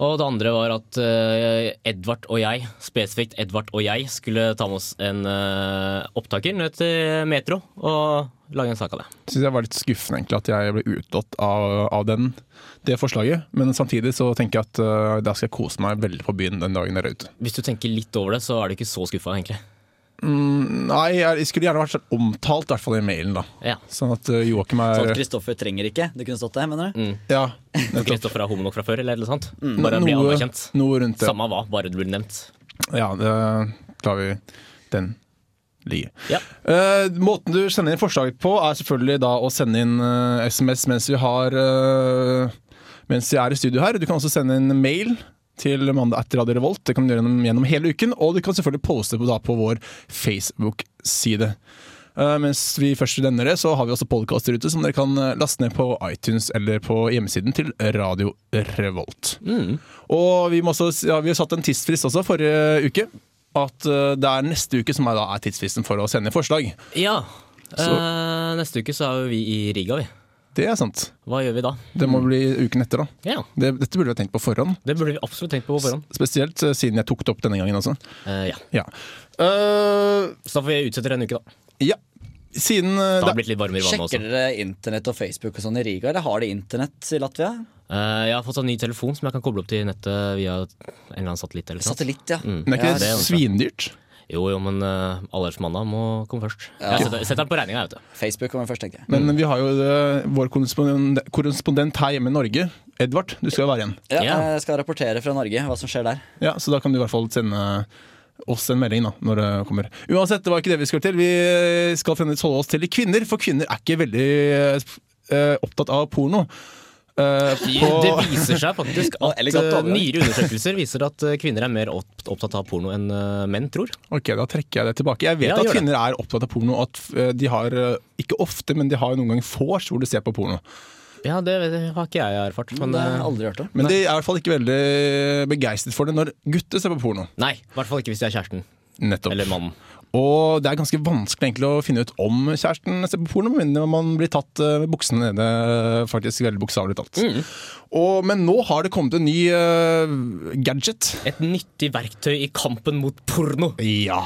[SPEAKER 4] Og det andre var at eh, Edvard og jeg, spesifikt Edvard og jeg, skulle ta med oss en eh, opptaker ned til Metro og lage en sak av det.
[SPEAKER 2] Syns jeg var litt skuffende egentlig at jeg ble utelatt av, av den, det forslaget. Men samtidig så tenker jeg at eh, da skal jeg kose meg veldig på byen den dagen jeg er ute.
[SPEAKER 4] Hvis du tenker litt over det, så er du ikke så skuffa, egentlig.
[SPEAKER 2] Nei, jeg skulle gjerne vært sånn omtalt, i hvert fall i mailen, da.
[SPEAKER 4] Ja.
[SPEAKER 2] Sånn at eh, Joakim
[SPEAKER 3] Sånn at
[SPEAKER 2] er
[SPEAKER 3] Kristoffer trenger ikke. Det kunne stått det, mener
[SPEAKER 4] Mm,
[SPEAKER 3] du?
[SPEAKER 2] Ja.
[SPEAKER 4] For Kristoffer er homo nok fra før, eller noe sånt. Bare bli
[SPEAKER 2] Mm. Noe,
[SPEAKER 4] anerkjent.
[SPEAKER 2] noe rundt det.
[SPEAKER 4] Samme hva, bare du blir nevnt.
[SPEAKER 2] Ja, det lar vi den ligge.
[SPEAKER 4] Ja.
[SPEAKER 2] Eh, måten du sender inn forslag på, er selvfølgelig da å sende inn eh, SMS mens vi har eh, Mens vi er i studio her. Du kan også sende inn mail til mandag etter Radio Revolt. Det kan du gjøre gjennom, gjennom hele uken. Og du kan selvfølgelig poste på, da, på vår Facebook-side. Eh, mens vi først nevner det, så har vi også podkaster ute som dere kan eh, laste ned på iTunes eller på hjemmesiden til Radio Revolt. Og vi, må også, ja, vi har satt en tidsfrist også forrige uke. At eh, det er neste uke som er, da, er tidsfristen for å sende forslag.
[SPEAKER 4] Ja. Eh, neste uke så er jo vi i Riga, vi.
[SPEAKER 2] Det er sant.
[SPEAKER 4] Hva gjør vi da?
[SPEAKER 2] Det må bli uken etter, da.
[SPEAKER 4] Ja,
[SPEAKER 2] Det, dette burde vi ha tenkt på forhånd.
[SPEAKER 4] Det burde vi absolutt tenkt på på forhånd.
[SPEAKER 2] Spesielt eh, siden jeg tok det opp denne gangen også.
[SPEAKER 4] Eh, ja.
[SPEAKER 2] Ja. Eh,
[SPEAKER 4] Så da får vi utsette det en uke, da.
[SPEAKER 2] ja. Siden eh,
[SPEAKER 4] Da har det
[SPEAKER 2] det,
[SPEAKER 4] blitt litt varmere i vannet også.
[SPEAKER 3] Sjekker dere internett og Facebook og sånn i Riga, eller har de internett i Latvia?
[SPEAKER 4] Eh, jeg har fått en ny telefon som jeg kan koble opp til nettet via en eller annen satellitt. Eller noe sånt.
[SPEAKER 3] Satellitt, ja.
[SPEAKER 2] men er ikke
[SPEAKER 3] Ja,
[SPEAKER 2] det
[SPEAKER 4] det er også.
[SPEAKER 2] svindyrt?
[SPEAKER 4] Jo, jo, men uh, mandag må komme først. Jeg setter, setter den på regninga, vet du.
[SPEAKER 3] Facebook kommer først, tenkte jeg.
[SPEAKER 2] Men vi har jo eh, vår korrespondent, korrespondent her hjemme i Norge, Edvard. Du skal jo være igjen.
[SPEAKER 3] Ja,
[SPEAKER 4] Ja.
[SPEAKER 3] Jeg skal rapportere fra Norge hva som skjer der.
[SPEAKER 2] Ja, Så da kan du i hvert fall sende oss en melding da, når det kommer. Uansett, det var ikke det vi skulle til. Vi skal fremdeles holde oss til kvinner, for kvinner er ikke veldig eh, opptatt av porno. Eh,
[SPEAKER 4] Det
[SPEAKER 2] på,
[SPEAKER 4] viser seg faktisk
[SPEAKER 3] Og
[SPEAKER 4] at
[SPEAKER 3] elegant
[SPEAKER 4] eh,
[SPEAKER 3] overgang.
[SPEAKER 4] nyere undersøkelser viser at eh, kvinner er mer opp- opptatt av porno enn eh, menn tror.
[SPEAKER 2] ok, Da trekker jeg det tilbake. Jeg vet
[SPEAKER 4] Ja,
[SPEAKER 2] at
[SPEAKER 4] gjør det.
[SPEAKER 2] kvinner er opptatt av porno. At eh, de har, eh, ikke ofte, men de har noen ganger vors hvor de ser på porno.
[SPEAKER 4] Ja, det vet- har ikke jeg erfart. Men,
[SPEAKER 3] det har
[SPEAKER 4] eh,
[SPEAKER 3] jeg aldri hørt om.
[SPEAKER 2] Men de er i hvert fall ikke veldig begeistret for det når gutter ser på porno.
[SPEAKER 4] nei, i hvert fall ikke hvis de er kjæresten
[SPEAKER 2] Nettopp.
[SPEAKER 4] eller mannen.
[SPEAKER 2] Og det er ganske vanskelig egentlig å finne ut om kjæresten ser på porno, med mindre man blir tatt eh, med buksene nede, faktisk veldig bokstavelig talt. Og, men nå har det kommet en ny eh, gadget.
[SPEAKER 4] Et nyttig verktøy i kampen mot porno.
[SPEAKER 2] Ja,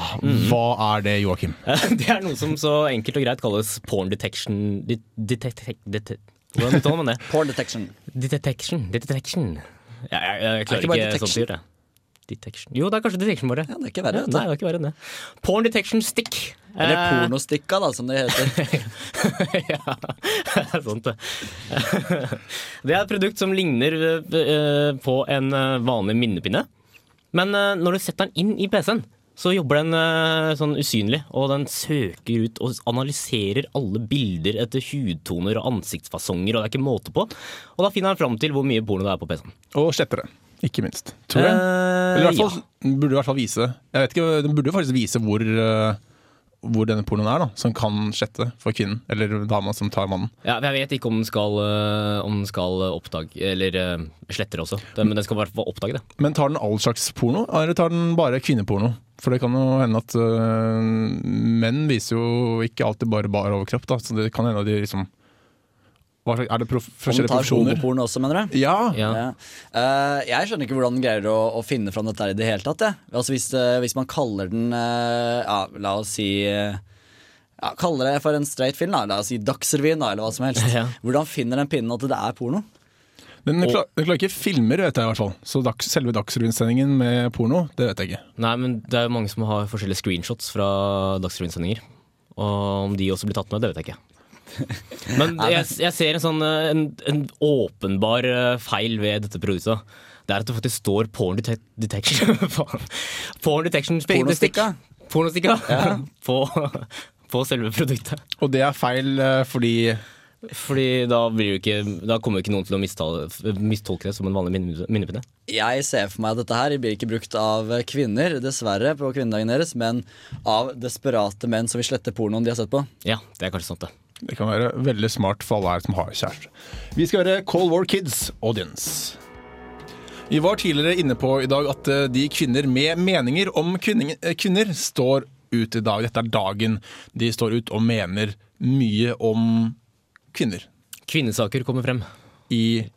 [SPEAKER 2] hva er det, Joakim?
[SPEAKER 4] Det er noe som så enkelt og greit kalles porn detection det- detect- det- Hvordan uttaler man det?
[SPEAKER 3] Porn detection.
[SPEAKER 4] Detection. Detection. Jeg, jeg, jeg
[SPEAKER 3] Er det
[SPEAKER 4] klarer
[SPEAKER 3] ikke bare
[SPEAKER 4] ikke, sånt
[SPEAKER 3] detection?
[SPEAKER 4] dyr, jeg. Detection. Jo, det er kanskje detection, bare.
[SPEAKER 3] Ja, det er ikke verre, vet du.
[SPEAKER 4] Nei, det er ikke verre enn det. Porn detection stick.
[SPEAKER 3] Eller
[SPEAKER 4] Eh,
[SPEAKER 3] pornostikka, da, som det heter.
[SPEAKER 4] ja, det er sant, det. det er et produkt som ligner eh, på en eh, vanlig minnepinne. Men eh, når du setter den inn i PC-en, så jobber den eh, sånn usynlig. Og den søker ut og analyserer alle bilder etter hudtoner og ansiktsfasonger. Og det er ikke måte på. Og da finner den fram til hvor mye porno det er på PC-en.
[SPEAKER 2] Og sletter det, ikke minst. Tror jeg.
[SPEAKER 4] Eh,
[SPEAKER 2] Eller i hvert fall, den burde i hvert fall vise det. Jeg vet ikke, Den burde jo faktisk vise hvor, eh, hvor denne pornoen er, da, som kan slette for kvinnen. Eller dama som tar mannen.
[SPEAKER 4] Ja, men Jeg vet ikke om den skal, øh, om den skal oppdage Eller øh, sletter også. Det- Men den skal i hvert fall oppdage det.
[SPEAKER 2] Men tar den all slags porno, eller tar den bare kvinneporno? For det kan jo hende at øh, menn viser jo ikke alltid bare bar overkropp, da. Så det kan hende at de liksom hva slags, Er det prof
[SPEAKER 3] Om du
[SPEAKER 2] forskjellige
[SPEAKER 3] tar
[SPEAKER 2] profesjoner?
[SPEAKER 3] homoporn også, mener du?
[SPEAKER 2] Ja.
[SPEAKER 4] Ja.
[SPEAKER 3] Ja. Eh, jeg skjønner ikke hvordan den greier å, å finne fram dette her i det hele tatt. jeg. Altså hvis, eh, hvis man kaller den eh, ja, La oss si eh, ja, Kaller det for en straight film, da. La oss si Dagsrevyen, da, eller hva som helst.
[SPEAKER 4] Ja.
[SPEAKER 3] Hvordan finner den pinnen at det er porno?
[SPEAKER 2] Den, klar, den klarer ikke filmer, vet jeg i hvert fall. Så dags, selve Dagsrevyen-sendingen med porno, det vet jeg ikke.
[SPEAKER 4] Nei, men det er jo mange som har forskjellige screenshots fra Dagsrevyen-sendinger. Og om de også blir tatt med, det vet jeg ikke. Men jeg, jeg ser en sånn øh, en, en åpenbar øh, feil ved dette produktet. Det er at det faktisk står porn detec- detection Faen. Porn detection stick-
[SPEAKER 3] Pornostikka?
[SPEAKER 4] Pornostikka på, på selve produktet.
[SPEAKER 2] Og det er feil øh, fordi
[SPEAKER 4] Fordi da, blir det ikke, da kommer jo ikke noen til å mistale- mistolke det som en vanlig minne- minnepinne.
[SPEAKER 3] Jeg ser for meg at dette her blir ikke brukt av kvinner, dessverre, på kvinnedagen deres, men av desperate menn som vil slette pornoen de har sett på.
[SPEAKER 4] Ja, det er kanskje sant, det.
[SPEAKER 2] det kan være veldig smart for alle her som har kjæreste. Vi skal høre Call War Kids Audience. Vi var tidligere inne på i dag at eh, de kvinner med meninger om kvinning- eh, kvinner står ut i dag. Dette er dagen de står ut og mener mye om kvinner.
[SPEAKER 4] Kvinnesaker kommer frem.
[SPEAKER 2] i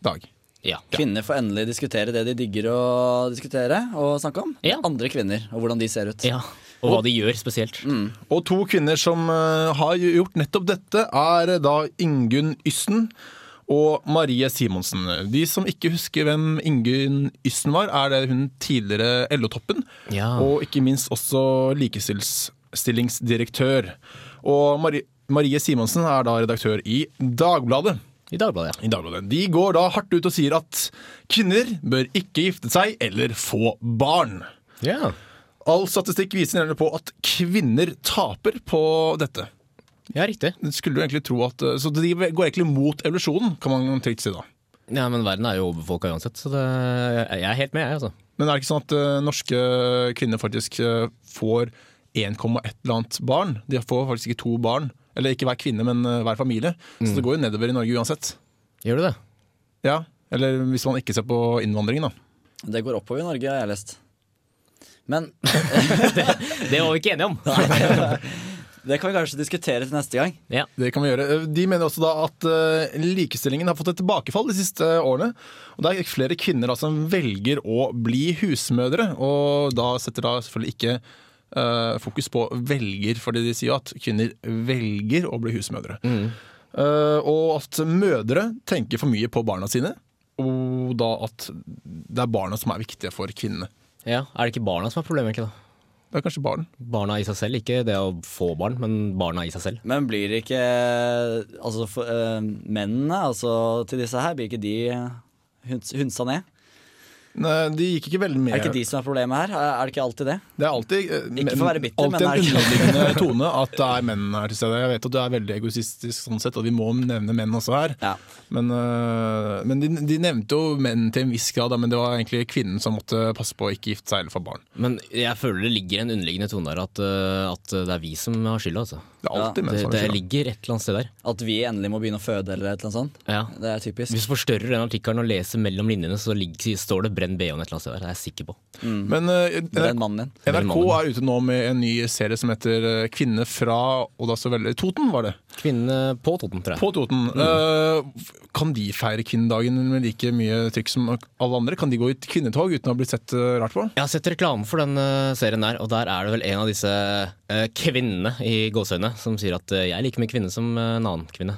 [SPEAKER 2] dag.
[SPEAKER 4] Ja.
[SPEAKER 3] Kvinner får endelig diskutere det de digger å diskutere og snakke om.
[SPEAKER 4] Ja.
[SPEAKER 3] Andre kvinner og hvordan de ser ut.
[SPEAKER 4] ja. Og hva de gjør, spesielt.
[SPEAKER 2] Og to kvinner som eh, har gjort nettopp dette, er eh, da Ingunn Yssen og Marie Simonsen. De som ikke husker hvem Ingunn Yssen var, er det hun tidligere LO-toppen,
[SPEAKER 4] Ja.
[SPEAKER 2] og ikke minst også likestillingsdirektør. Og Marie, Marie Simonsen er da redaktør i Dagbladet.
[SPEAKER 4] I Dagbladet,
[SPEAKER 2] I Dagbladet. De går da hardt ut og sier at kvinner bør ikke gifte seg eller få barn.
[SPEAKER 4] ja.
[SPEAKER 2] All statistikk viser nemlig på at kvinner taper på dette.
[SPEAKER 4] Ja, riktig.
[SPEAKER 2] Skulle du egentlig tro at eh, Så de går egentlig mot evolusjonen, kan man trygt si da.
[SPEAKER 4] Ja, men verden er jo overbefolka uansett, så det, jeg er helt med, jeg, altså.
[SPEAKER 2] Men er det ikke sånn at eh, norske kvinner faktisk eh, får 1,1 eller annet barn? De får faktisk ikke to barn. Eller ikke hver kvinne, men eh, hver familie. Så det går jo nedover i Norge uansett.
[SPEAKER 4] Gjør du det?
[SPEAKER 2] Ja, Eller hvis man ikke ser på innvandringen, da.
[SPEAKER 3] Det går oppover i Norge, har jeg lest. Men
[SPEAKER 4] Det var vi ikke enige om.
[SPEAKER 3] det kan vi kanskje diskutere til neste gang.
[SPEAKER 4] Ja.
[SPEAKER 2] Det kan vi gjøre. Eh, De mener også da at eh, likestillingen har fått et tilbakefall de siste eh, årene. Og det er flere kvinner da, som velger å bli husmødre, og da setter da selvfølgelig ikke eh, fokus på velger, fordi de sier jo at kvinner velger å bli husmødre.
[SPEAKER 3] Mm.
[SPEAKER 2] Eh, og at mødre tenker for mye på barna sine, og da at det er barna som er viktige for kvinnene.
[SPEAKER 4] ja. Er det ikke barna som er problemet, egentlig, da?
[SPEAKER 2] Det er kanskje barn.
[SPEAKER 4] Barna i seg selv, ikke det å få barn, men barna i seg selv.
[SPEAKER 3] Men blir ikke altså, for, eh, mennene altså, til disse her, blir ikke de huns, hunsa ned?
[SPEAKER 2] Nei, de gikk ikke veldig med.
[SPEAKER 3] Er det ikke de som er problemet her? Er er det ikke alltid det?
[SPEAKER 2] Det er alltid, eh, men-
[SPEAKER 3] for å være bitter, men
[SPEAKER 2] alltid
[SPEAKER 3] er det
[SPEAKER 2] en
[SPEAKER 3] ikke-
[SPEAKER 2] underliggende tone at det er menn her til stede. Jeg vet at du er veldig egoistisk sånn sett, og vi må nevne menn også her.
[SPEAKER 3] Ja.
[SPEAKER 2] Men, eh, men de, de nevnte jo menn til en viss grad, da, men det var egentlig kvinnen som måtte passe på å ikke gifte seg eller få barn.
[SPEAKER 4] Men jeg føler det ligger en underliggende tone der at, eh, at det er vi som har skylda, altså.
[SPEAKER 2] Det er alltid
[SPEAKER 3] Ja,
[SPEAKER 2] menn
[SPEAKER 4] Det,
[SPEAKER 2] som
[SPEAKER 4] det
[SPEAKER 2] har skylda.
[SPEAKER 4] ligger et eller annet sted der.
[SPEAKER 3] At vi endelig må begynne å føde eller et eller annet sånt?
[SPEAKER 4] Ja.
[SPEAKER 3] Det er typisk.
[SPEAKER 4] Hvis du forstørrer den artikkelen og leser mellom linjene, så ligger, står det 'brenn BH-en' et eller annet sted der. Det er jeg sikker på.
[SPEAKER 2] Men eh,
[SPEAKER 3] Den mannen din.
[SPEAKER 2] NRK er ute nå med en ny serie som heter eh, 'Kvinne fra og da så veldig Toten', var det?
[SPEAKER 4] Kvinnene på Toten, tror jeg.
[SPEAKER 2] På Toten. Eh, kan de feire kvinnedagen med like mye trykk som alle andre? Kan de gå i et kvinnetog uten å ha blitt sett eh, rart på?
[SPEAKER 4] Jeg har sett reklame for den eh, serien der, og der er det vel en av disse eh, kvinnene i gåseøynene som sier at eh, jeg er like mye kvinne som eh, en annen kvinne.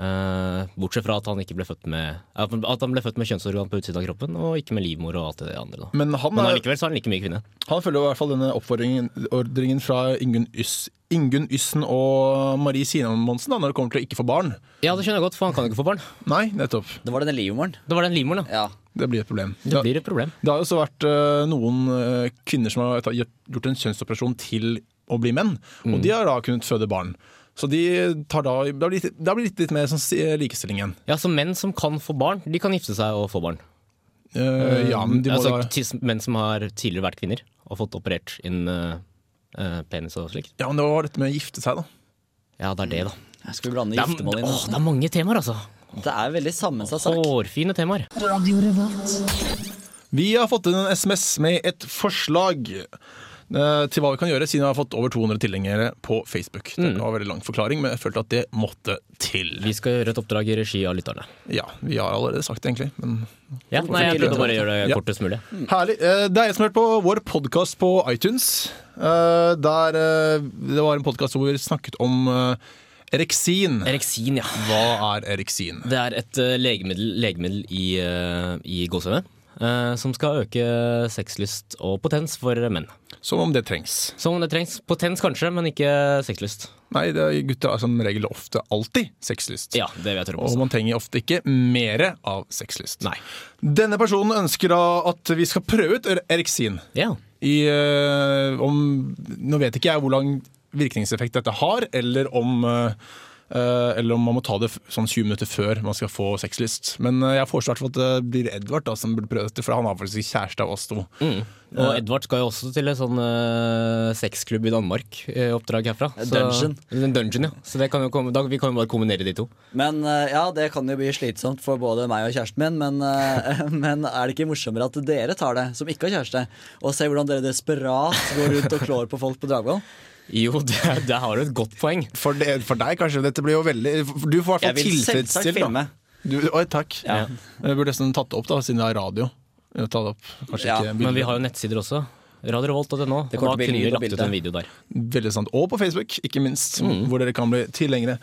[SPEAKER 4] Eh, bortsett fra at han ikke ble født med At han ble født med kjønnsorgan på utsiden av kroppen, og ikke med livmor og alt det andre. Da.
[SPEAKER 2] Men han
[SPEAKER 4] Men
[SPEAKER 2] er,
[SPEAKER 4] allikevel så er han like mye kvinne.
[SPEAKER 2] Han følger jo i hvert fall denne oppfordringen ordringen fra Ingunn Yss, Ingunn Yssen og Marie Simonsen da, når det kommer til å ikke få barn.
[SPEAKER 4] Ja, det skjønner jeg godt, for han kan jo ikke få barn.
[SPEAKER 2] Nei, nettopp.
[SPEAKER 3] Det var denne livmoren.
[SPEAKER 4] Det var den livmoren, da.
[SPEAKER 3] Ja.
[SPEAKER 2] Det blir et problem.
[SPEAKER 4] Det blir et problem.
[SPEAKER 2] Det har jo også vært eh, noen eh, kvinner som har ta- gjort en kjønnsoperasjon til å bli menn, og
[SPEAKER 4] Mm.
[SPEAKER 2] de har da kunnet føde barn. Så de tar da, da blir det da blir det litt mer sånn si- likestilling igjen.
[SPEAKER 4] Ja, så menn som kan få barn, de kan gifte seg og få barn.
[SPEAKER 2] Eh, ja, men de må
[SPEAKER 4] altså,
[SPEAKER 2] da,
[SPEAKER 4] tis- menn som har tidligere vært kvinner og fått operert inn eh, eh, penis og slikt.
[SPEAKER 2] ja, men det var dette med å gifte seg, da.
[SPEAKER 4] Ja, det er det, da.
[SPEAKER 3] Skal vi blande
[SPEAKER 4] Det er,
[SPEAKER 3] giftermål inn?
[SPEAKER 4] åh, det er mange temaer, altså.
[SPEAKER 3] Det er veldig sammensatt sak.
[SPEAKER 4] Hårfine temaer.
[SPEAKER 2] Vi har fått inn en SMS med et forslag eh, til hva vi kan gjøre, siden vi har fått over 200 tilhengere på Facebook. Det var en veldig lang forklaring, men jeg følte at det måtte til.
[SPEAKER 4] Vi skal gjøre et oppdrag i regi av lytterne.
[SPEAKER 2] Ja, vi har allerede sagt det, egentlig. Men
[SPEAKER 4] Ja, nei, jeg prøvde bare å gjøre det
[SPEAKER 2] Ja.
[SPEAKER 4] kortest mulig.
[SPEAKER 2] Herlig. Eh, Det er jeg som har hørt på vår podkast på iTunes. eh, Der eh, det var en podkast hvor vi snakket om eh, ereksin.
[SPEAKER 4] Ereksin, ja.
[SPEAKER 2] Hva er ereksin?
[SPEAKER 4] Det er et eh, legemiddel, legemiddel i, uh, i gåsehøyne eh, som skal øke sexlyst og potens for menn.
[SPEAKER 2] Som om det trengs.
[SPEAKER 4] Som det trengs. Potens kanskje, men ikke sexlyst.
[SPEAKER 2] Nei, det er gutter har som regel ofte alltid sexlyst.
[SPEAKER 4] Ja, det vil jeg tro på.
[SPEAKER 2] Og
[SPEAKER 4] også.
[SPEAKER 2] man trenger ofte ikke mere av sexlyst.
[SPEAKER 4] Nei.
[SPEAKER 2] Denne personen ønsker da at vi skal prøve ut er- ereksin.
[SPEAKER 4] Ja.
[SPEAKER 2] I, eh, om, nå vet ikke jeg hvor lang virkningseffekt dette har, eller om, eh, eh, eller om man må ta det f- sånn 20 minutter før man skal få sexlyst. Men eh, jeg foreslår i hvert fall at det blir Edvard da, som burde prøve dette, for han har faktisk kjæreste av oss to.
[SPEAKER 3] Mm.
[SPEAKER 4] Og Edvard skal jo også til en sånn eh, sexklubb i Danmark. eh, oppdrag herfra.
[SPEAKER 3] En dungeon.
[SPEAKER 4] En dungeon, ja. Så det kan jo komme, da, vi kan jo bare kombinere de to.
[SPEAKER 3] Men eh, ja, det kan jo bli slitsomt for både meg og kjæresten min, men, eh, men er det ikke morsommere at dere tar det, som ikke har kjæreste, og ser hvordan dere desperat går rundt og klår på folk på Dragvoll?
[SPEAKER 4] Jo, der, der har du et godt poeng.
[SPEAKER 2] For, det, for deg, kanskje. Dette blir jo veldig Du får i hvert
[SPEAKER 3] Jeg
[SPEAKER 2] fall
[SPEAKER 3] vil selvsagt
[SPEAKER 2] tilfredsstilt, da.
[SPEAKER 3] filme.
[SPEAKER 2] Du, oi, takk.
[SPEAKER 3] Ja.
[SPEAKER 2] Jeg burde nesten tatt det opp, da, siden det er radio. Jeg tar det opp, kanskje
[SPEAKER 3] Ja,
[SPEAKER 2] ikke
[SPEAKER 4] Men vi
[SPEAKER 2] bilder.
[SPEAKER 4] har jo nettsider også. Radiorevolt.no.
[SPEAKER 3] Det korte
[SPEAKER 4] Da kunne
[SPEAKER 3] bildet
[SPEAKER 4] vi
[SPEAKER 3] og
[SPEAKER 4] lagt ut
[SPEAKER 3] bildet.
[SPEAKER 4] en video der.
[SPEAKER 2] Veldig sant. Og på Facebook, ikke minst,
[SPEAKER 4] Mm.
[SPEAKER 2] hvor dere kan bli tilhengere.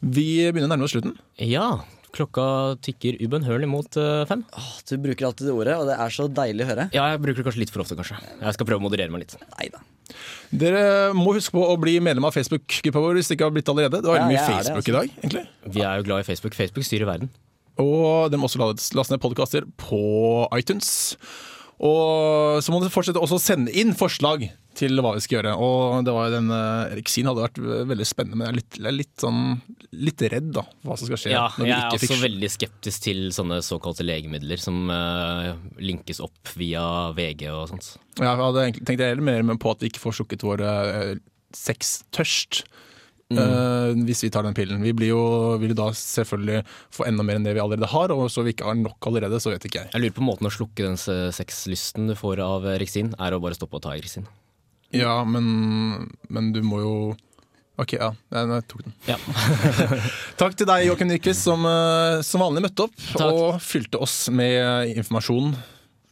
[SPEAKER 2] Vi begynner å nærme oss slutten.
[SPEAKER 4] Ja, klokka tikker ubønnhørlig mot eh, fem.
[SPEAKER 3] Åh, Du bruker alltid det ordet, og det er så deilig å høre.
[SPEAKER 4] Ja, jeg bruker det kanskje litt for ofte, kanskje. Jeg skal prøve å moderere meg litt.
[SPEAKER 3] Nei da.
[SPEAKER 2] Dere må huske på å bli medlem av Facebook-gruppa vår hvis dere ikke har blitt det allerede. Det var veldig
[SPEAKER 3] Ja,
[SPEAKER 2] mye
[SPEAKER 3] jeg er det,
[SPEAKER 2] Facebook i dag, egentlig.
[SPEAKER 4] Vi er jo glad i Facebook. Facebook styrer verden.
[SPEAKER 2] Og dere må også lade- laste ned podkaster på iTunes. Og så må dere fortsette også å sende inn forslag til hva vi skal gjøre. Og det var jo den eh, Erik Sin hadde vært veldig spennende, men jeg er litt, jeg er litt, sånn, litt redd da, hva som skal skje
[SPEAKER 4] Ja,
[SPEAKER 2] når
[SPEAKER 4] jeg
[SPEAKER 2] vi
[SPEAKER 4] er
[SPEAKER 2] ikke
[SPEAKER 4] også
[SPEAKER 2] fikk
[SPEAKER 4] veldig skeptisk til sånne såkalte legemidler som eh, linkes opp via VG og sånt.
[SPEAKER 2] Ja, Jeg hadde egentlig tenkt heller mer på at vi ikke får slukket vår eh, sextørst.
[SPEAKER 3] Mm.
[SPEAKER 2] eh, hvis vi tar den pillen. Vi blir jo, vil jo da selvfølgelig få enda mer enn det vi allerede har. Og så vi ikke har nok allerede, så vet ikke jeg.
[SPEAKER 4] Jeg lurer på måten å slukke den se- sexlysten du får av Rexin, er å bare stoppe å ta Rexin.
[SPEAKER 2] Ja, men, men du må jo Ok, ja. Nei, nei, jeg tok den.
[SPEAKER 4] Ja.
[SPEAKER 2] Takk til deg, Joakim Nyquist, som eh, som vanlig møtte opp
[SPEAKER 4] Takk.
[SPEAKER 2] og fylte oss med informasjon.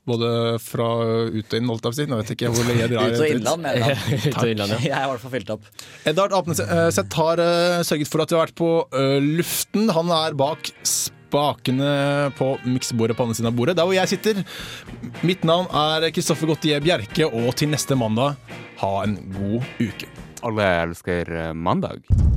[SPEAKER 2] Både fra ut og inn, holdt jeg på å si. Nå vet jeg ikke hvor lenge jeg drar.
[SPEAKER 3] Ut og innland, mener jeg.
[SPEAKER 4] Ut og innland, ja.
[SPEAKER 3] Jeg er i hvert fall fylt opp.
[SPEAKER 2] Edvard Apneseth har eh, sørget for at vi har vært på eh, luften. Han er bak spakene på miksebordet på andre siden av bordet, der hvor jeg sitter. Mitt navn er Kristoffer Gottier Bjerke, og til neste mandag, ha en god uke.
[SPEAKER 10] Alle elsker eh, mandag.